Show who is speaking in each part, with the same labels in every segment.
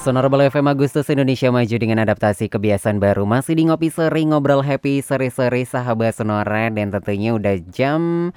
Speaker 1: Sonorable FM Agustus Indonesia maju dengan adaptasi kebiasaan baru Masih di ngopi seri ngobrol happy seri-seri sahabat sonora Dan tentunya udah jam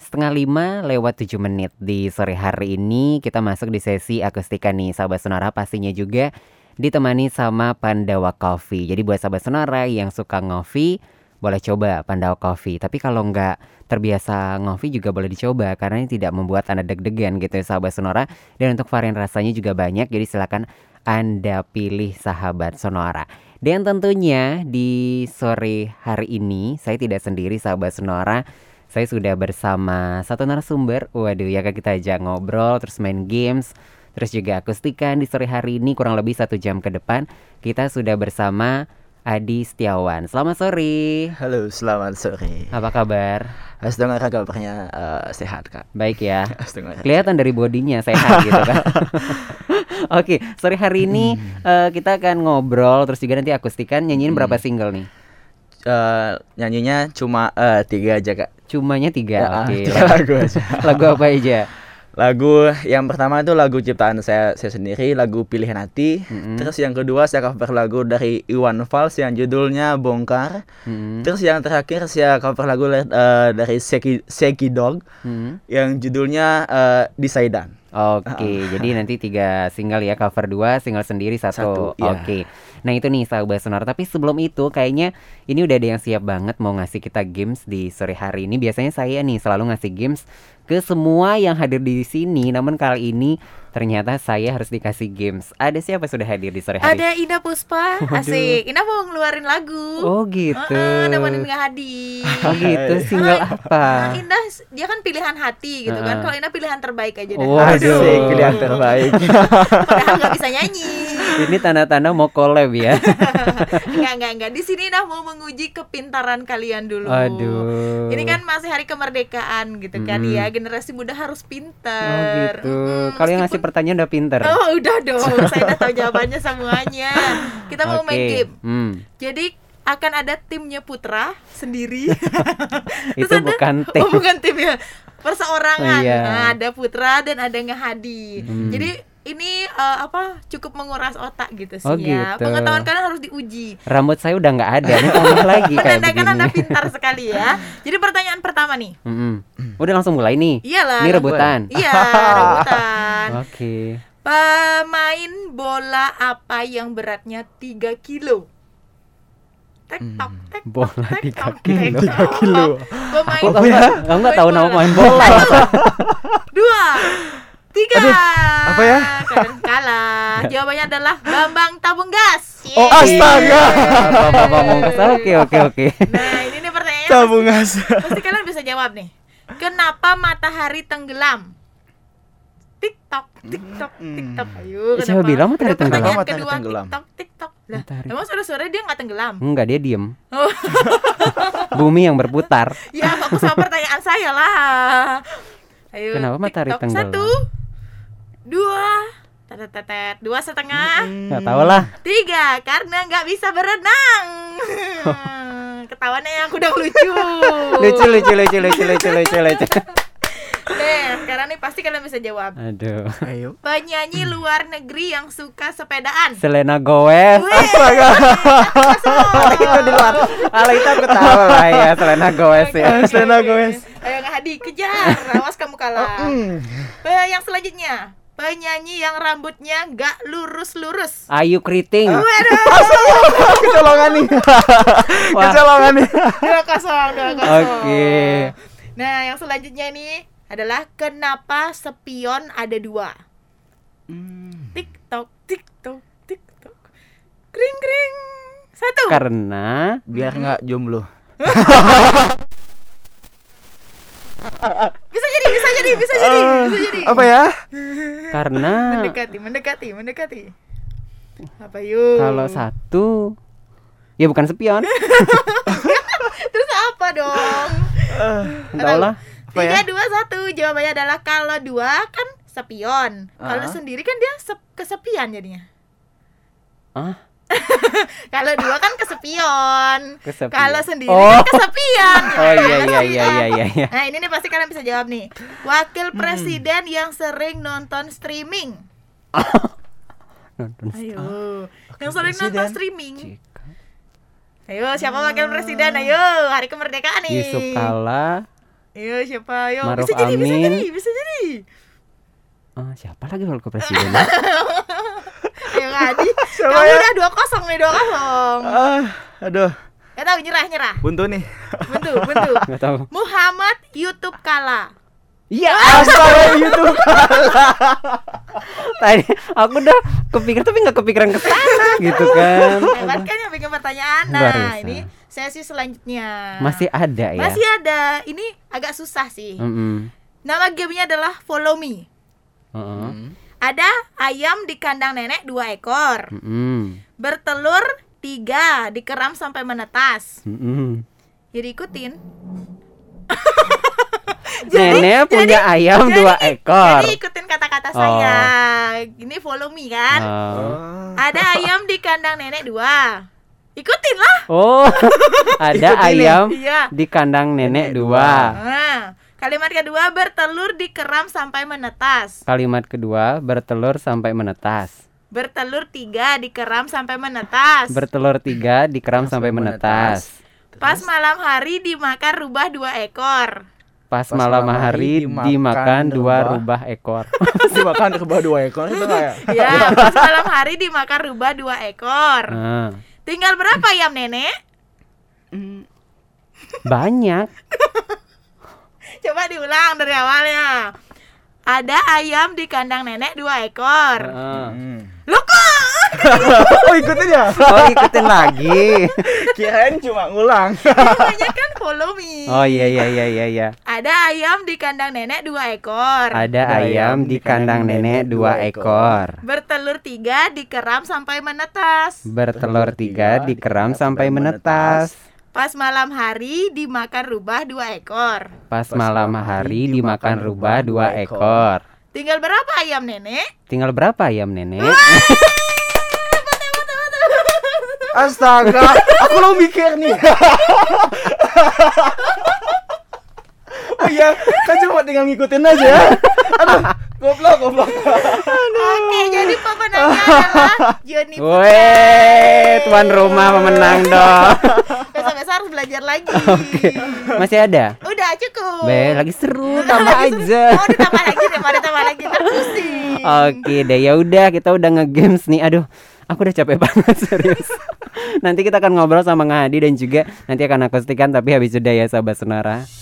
Speaker 1: setengah lima lewat tujuh menit Di sore hari ini kita masuk di sesi akustika nih sahabat sonora pastinya juga Ditemani sama Pandawa Coffee Jadi buat sahabat sonora yang suka ngopi boleh coba Pandawa Coffee Tapi kalau nggak terbiasa ngopi juga boleh dicoba Karena ini tidak membuat Anda deg-degan gitu ya sahabat sonora Dan untuk varian rasanya juga banyak Jadi silakan anda pilih sahabat Sonora. Dan tentunya di sore hari ini saya tidak sendiri sahabat Sonora. Saya sudah bersama satu narasumber. Waduh, ya kan kita aja ngobrol, terus main games, terus juga akustikan di sore hari ini kurang lebih satu jam ke depan kita sudah bersama Adi Setiawan. Selamat sore.
Speaker 2: Halo, selamat sore.
Speaker 1: Apa kabar?
Speaker 2: Astaga, kabarnya eh, sehat, Kak.
Speaker 1: Baik ya.
Speaker 2: Astaga.
Speaker 1: Kelihatan dari bodinya sehat gitu kan. Oke, sore hari ini
Speaker 2: Hmm.
Speaker 1: eh, kita akan ngobrol terus juga nanti akustikan nyanyiin berapa single nih?
Speaker 2: Eh, nyanyinya cuma eh, tiga aja, Kak.
Speaker 1: Cumanya tiga.
Speaker 2: Ya,
Speaker 1: Oke.
Speaker 2: tiga lagu aja.
Speaker 1: Lagu apa aja?
Speaker 2: Lagu yang pertama itu lagu ciptaan saya saya sendiri, lagu Pilihan Hati. Terus yang kedua saya cover lagu dari Iwan Fals yang judulnya Bongkar.
Speaker 1: Hmm,
Speaker 2: Terus yang terakhir saya cover lagu eh, dari Seki Seki Dog
Speaker 1: hmm.
Speaker 2: yang judulnya eh, Disaidan.
Speaker 1: Oke, jadi nanti tiga single ya, cover dua, single sendiri satu.
Speaker 2: Satu, iya.
Speaker 1: Oke. Nah, itu nih sahabat sonora, tapi sebelum itu kayaknya ini udah ada yang siap banget mau ngasih kita games di sore hari ini. Biasanya saya nih selalu ngasih games ke semua yang hadir di sini, namun kali ini ternyata saya harus dikasih games. Ada siapa sudah hadir di sore hari?
Speaker 3: Ada Ina Puspa, asik. Ina mau ngeluarin lagu.
Speaker 1: Oh, gitu.
Speaker 3: Heeh, nemenin Nggak Hadi.
Speaker 1: Oh gitu, single
Speaker 3: Nah,
Speaker 1: apa?
Speaker 3: Ina s- dia kan pilihan hati gitu kan.
Speaker 1: Heeh.
Speaker 3: Kalau Ina pilihan terbaik aja deh.
Speaker 1: Waduh.
Speaker 2: Asik, pilihan terbaik.
Speaker 3: Padahal nggak bisa nyanyi.
Speaker 1: Ini tanda-tanda mau collab ya.
Speaker 3: Enggak, enggak, enggak. Di sini Ina mau menguji kepintaran kalian dulu.
Speaker 1: Aduh.
Speaker 3: Ini kan masih hari kemerdekaan gitu kan
Speaker 1: Mm-mm.
Speaker 3: ya. Generasi muda harus
Speaker 1: Oh
Speaker 3: pintar.
Speaker 1: gitu.
Speaker 3: Mm-mm,
Speaker 1: Kalau yang ngasih
Speaker 3: meskipun-
Speaker 1: pertanyaan udah pinter.
Speaker 3: Oh udah dong, saya udah tahu jawabannya semuanya. Kita mau main
Speaker 1: Oke.
Speaker 3: game.
Speaker 1: Hmm.
Speaker 3: Jadi akan ada timnya Putra sendiri. Terus
Speaker 1: Itu
Speaker 3: ada-
Speaker 1: bukan tim.
Speaker 3: Oh, bukan tim ya. Perseorangan.
Speaker 1: Iya.
Speaker 3: Nah, ada Putra dan ada Ngahadi.
Speaker 1: Hmm.
Speaker 3: Jadi ini eh, apa cukup menguras otak gitu sih
Speaker 1: Oh,
Speaker 3: ya.
Speaker 1: gitu.
Speaker 3: Pengetahuan kalian harus diuji.
Speaker 1: Rambut saya udah nggak ada, ini tambah lagi kayak
Speaker 3: Menandakan Anda
Speaker 1: begini.
Speaker 3: pintar sekali ya. Jadi pertanyaan pertama nih.
Speaker 1: Mm-mm. Udah langsung mulai nih.
Speaker 3: Iyalah.
Speaker 1: Ini rebutan.
Speaker 3: Iya, rebutan.
Speaker 1: Oke.
Speaker 3: Pemain bola apa yang beratnya 3 kilo? Tek tok tek tok,
Speaker 1: Hmm, Bola
Speaker 3: tek,
Speaker 1: 3
Speaker 3: tok,
Speaker 1: kilo.
Speaker 3: tek, tok. Pemain
Speaker 1: Kok kamu nggak- kamu nggak tahu nama main bola?
Speaker 3: Satu, dua, tiga.
Speaker 2: apa ya?
Speaker 3: Kalian kalah. Jawabannya adalah Bambang Tabung Gas.
Speaker 2: Oh, astaga.
Speaker 1: Bapak-bapak mau kesal. Oke, oke, oke.
Speaker 3: Nah, ini nih pertanyaannya.
Speaker 2: Tabungan saya.
Speaker 3: Pasti kalian bisa jawab nih. Kenapa matahari tenggelam? TikTok, Tiktok, Tiktok. Ayo,
Speaker 1: Eh, siapa
Speaker 3: kenapa?
Speaker 1: bilang matahari
Speaker 3: Udah pertanyaan
Speaker 2: tenggelam? Hmm. Matahari
Speaker 3: kedua,
Speaker 2: tenggelam.
Speaker 3: TikTok, Tiktok. Lah,
Speaker 1: Matahari.
Speaker 3: emang sore-sore dia nggak tenggelam?
Speaker 1: Enggak, dia diem.
Speaker 3: Oh.
Speaker 1: Bumi yang berputar.
Speaker 3: Ya, fokus sama pertanyaan saya lah. Ayo.
Speaker 1: Kenapa matahari
Speaker 3: TikTok.
Speaker 1: tenggelam?
Speaker 3: Satu, dua, tetet, tetet, dua setengah,
Speaker 2: Hmm.
Speaker 1: Nggak tahu lah.
Speaker 3: tiga. Karena nggak bisa berenang. Ketawannya yang udah lucu.
Speaker 1: Lucu, lucu, lucu, lucu, lucu, lucu, lucu.
Speaker 3: Deh, sekarang nih pasti kalian bisa jawab.
Speaker 1: Aduh.
Speaker 2: Ayo.
Speaker 3: Penyanyi
Speaker 1: Hmm.
Speaker 3: luar negeri yang suka sepedaan.
Speaker 1: Selena Gomez.
Speaker 3: Astaga.
Speaker 1: Itu di luar. Ala itu aku tahu lah ya Selena Gomez ya.
Speaker 2: Selena Gomez.
Speaker 3: Ayo Kak Hadi kejar, awas kamu
Speaker 1: Oh,
Speaker 3: kalah.
Speaker 1: mm.
Speaker 2: Hmm.
Speaker 3: Pe- yang selanjutnya, penyanyi yang rambutnya nggak lurus-lurus.
Speaker 1: Ayu Kriting.
Speaker 2: Kecolongan nih.
Speaker 1: Wah.
Speaker 2: Kecolongan nih.
Speaker 3: Dua kosong, dua kosong.
Speaker 1: Oke.
Speaker 3: Nah, yang selanjutnya ini adalah kenapa sepion ada dua?
Speaker 1: Hmm.
Speaker 3: Tiktok, tiktok, tiktok. Kring kring. Satu.
Speaker 1: Karena
Speaker 2: Biar nggak jomblo.
Speaker 3: Bisa jadi, bisa jadi, bisa jadi,
Speaker 1: Ah.
Speaker 3: bisa jadi.
Speaker 2: Apa ya?
Speaker 1: karena
Speaker 3: mendekati mendekati mendekati apa yuk
Speaker 1: kalau satu ya bukan sepion
Speaker 3: terus apa dong
Speaker 1: entahlah Ah, lah
Speaker 2: Apa
Speaker 3: tiga
Speaker 2: ya?
Speaker 3: dua satu jawabannya adalah kalau dua kan sepion kalau
Speaker 2: Ah.
Speaker 3: sendiri kan dia sep- kesepian jadinya
Speaker 1: ah
Speaker 3: kalau dua kan kesepion
Speaker 1: kesepian
Speaker 3: kalau sendiri
Speaker 1: oh
Speaker 3: kan kesepian
Speaker 1: oh iya iya iya iya iya iya Hmm.
Speaker 3: nah ini nih pasti kalian bisa jawab nih wakil presiden yang sering nonton streaming
Speaker 1: nonton
Speaker 3: Ayo.
Speaker 1: Ah,
Speaker 3: Yang sering nonton
Speaker 2: Presiden.
Speaker 3: streaming.
Speaker 1: Jika
Speaker 3: Ayo siapa wakil presiden? Ayo hari kemerdekaan nih.
Speaker 1: Ah. Yusuf Kala
Speaker 3: Ayo siapa? Ayo.
Speaker 1: Maruf
Speaker 3: bisa jadi, bisa
Speaker 1: Amin.
Speaker 3: jadi, bisa jadi.
Speaker 1: Ah, siapa lagi kalau ke presiden
Speaker 3: Ayo Adi.
Speaker 2: Siapa
Speaker 3: Kamu
Speaker 2: ya?
Speaker 3: udah dua kosong nih dua kosong.
Speaker 2: Ah, aduh,
Speaker 3: Gak tahu nyerah nyerah.
Speaker 2: buntu nih.
Speaker 3: Bentuk bentuk.
Speaker 1: nggak tahu
Speaker 3: Muhammad YouTube kalah.
Speaker 1: Iya
Speaker 2: Astaga YouTube.
Speaker 1: tadi aku udah kepikir tapi nggak kepikiran ke sana gitu kan
Speaker 3: Hebat kan yang bikin pertanyaan.
Speaker 1: Luar
Speaker 3: Nah
Speaker 1: biasa.
Speaker 3: ini sesi selanjutnya.
Speaker 1: masih ada ya Hmm.
Speaker 3: Masih ada. Ini agak susah sih.
Speaker 1: Mm-mm.
Speaker 3: Nama gamenya adalah Follow Me.
Speaker 1: Mm-mm.
Speaker 2: Mm-hmm.
Speaker 3: Ada ayam di kandang nenek dua ekor,
Speaker 1: Mm-mm.
Speaker 3: bertelur tiga, dikeram sampai menetas.
Speaker 1: Mm-mm.
Speaker 3: Jadi ikutin.
Speaker 1: nenek punya ayam
Speaker 3: jadi- kan?
Speaker 1: dua ekor
Speaker 3: Jadi ikutin kata-kata
Speaker 1: Oh.
Speaker 3: saya. Ini follow me kan.
Speaker 1: Oh.
Speaker 3: Ada ayam di kandang nenek dua. Ikutin lah.
Speaker 1: Oh, ada
Speaker 2: Ikut ini.
Speaker 1: Ya, ayam
Speaker 3: Iya.
Speaker 1: di kandang nenek
Speaker 2: Nenek
Speaker 1: dua.
Speaker 3: Nah, kalimat kedua bertelur dikeram sampai menetas.
Speaker 1: Kalimat kedua bertelur sampai menetas.
Speaker 3: Bertelur tiga dikeram sampai menetas.
Speaker 1: Bertelur tiga dikeram sampai
Speaker 2: Sampai
Speaker 1: menetas.
Speaker 3: Pas malam hari dimakan rubah dua ekor.
Speaker 1: Pas
Speaker 2: Pas
Speaker 1: malam
Speaker 2: malam
Speaker 1: hari
Speaker 2: hari
Speaker 1: dimakan
Speaker 2: dimakan
Speaker 1: dua
Speaker 2: rubah.
Speaker 1: rubah ekor.
Speaker 2: Dimakan ke bawah dua ekor itu kayak.
Speaker 3: Ya, pas malam hari dimakan rubah dua ekor.
Speaker 1: Ah,
Speaker 3: Tinggal berapa ayam nenek?
Speaker 1: Banyak.
Speaker 3: Coba diulang dari awal ya. Ada ayam di kandang nenek dua ekor.
Speaker 1: Ah.
Speaker 2: Hmm.
Speaker 3: Lu kok?
Speaker 2: Oh ikutin ya?
Speaker 1: Oh, ikutin lagi.
Speaker 2: Kirain cuma ngulang.
Speaker 3: Namanya kan follow me.
Speaker 1: Oh iya iya iya iya iya.
Speaker 3: Ada ayam di kandang nenek dua ekor.
Speaker 1: Ada ayam di kandang nenek dua ekor.
Speaker 3: Bertelur tiga dikeram sampai menetas.
Speaker 1: Hmm. Bertelur tiga dikeram sampai menetas.
Speaker 3: Pas malam hari dimakan rubah dua ekor.
Speaker 1: Pas malam hari dimakan rubah dua ekor.
Speaker 3: Tinggal berapa ayam nenek?
Speaker 1: Tinggal berapa ayam nenek?
Speaker 2: Astaga, aku lo mikir nih. oh iya, kan cuma tinggal ngikutin aja ya. Aduh, goblok, goblok.
Speaker 3: Oke, jadi pemenangnya adalah Joni
Speaker 1: Weh, tuan rumah pemenang dong.
Speaker 3: Besok-besok harus belajar lagi.
Speaker 1: Masih ada?
Speaker 3: Udah cukup.
Speaker 1: Be, lagi seru, tambah aja.
Speaker 3: Mau ditambah lagi deh, mau ditambah lagi ntar pusing.
Speaker 1: Oke deh, ya udah kita udah nge-games nih. Aduh, aku udah capek banget serius. nanti kita akan ngobrol sama Ngadi dan juga nanti akan akustikan tapi habis sudah ya sahabat Sonora.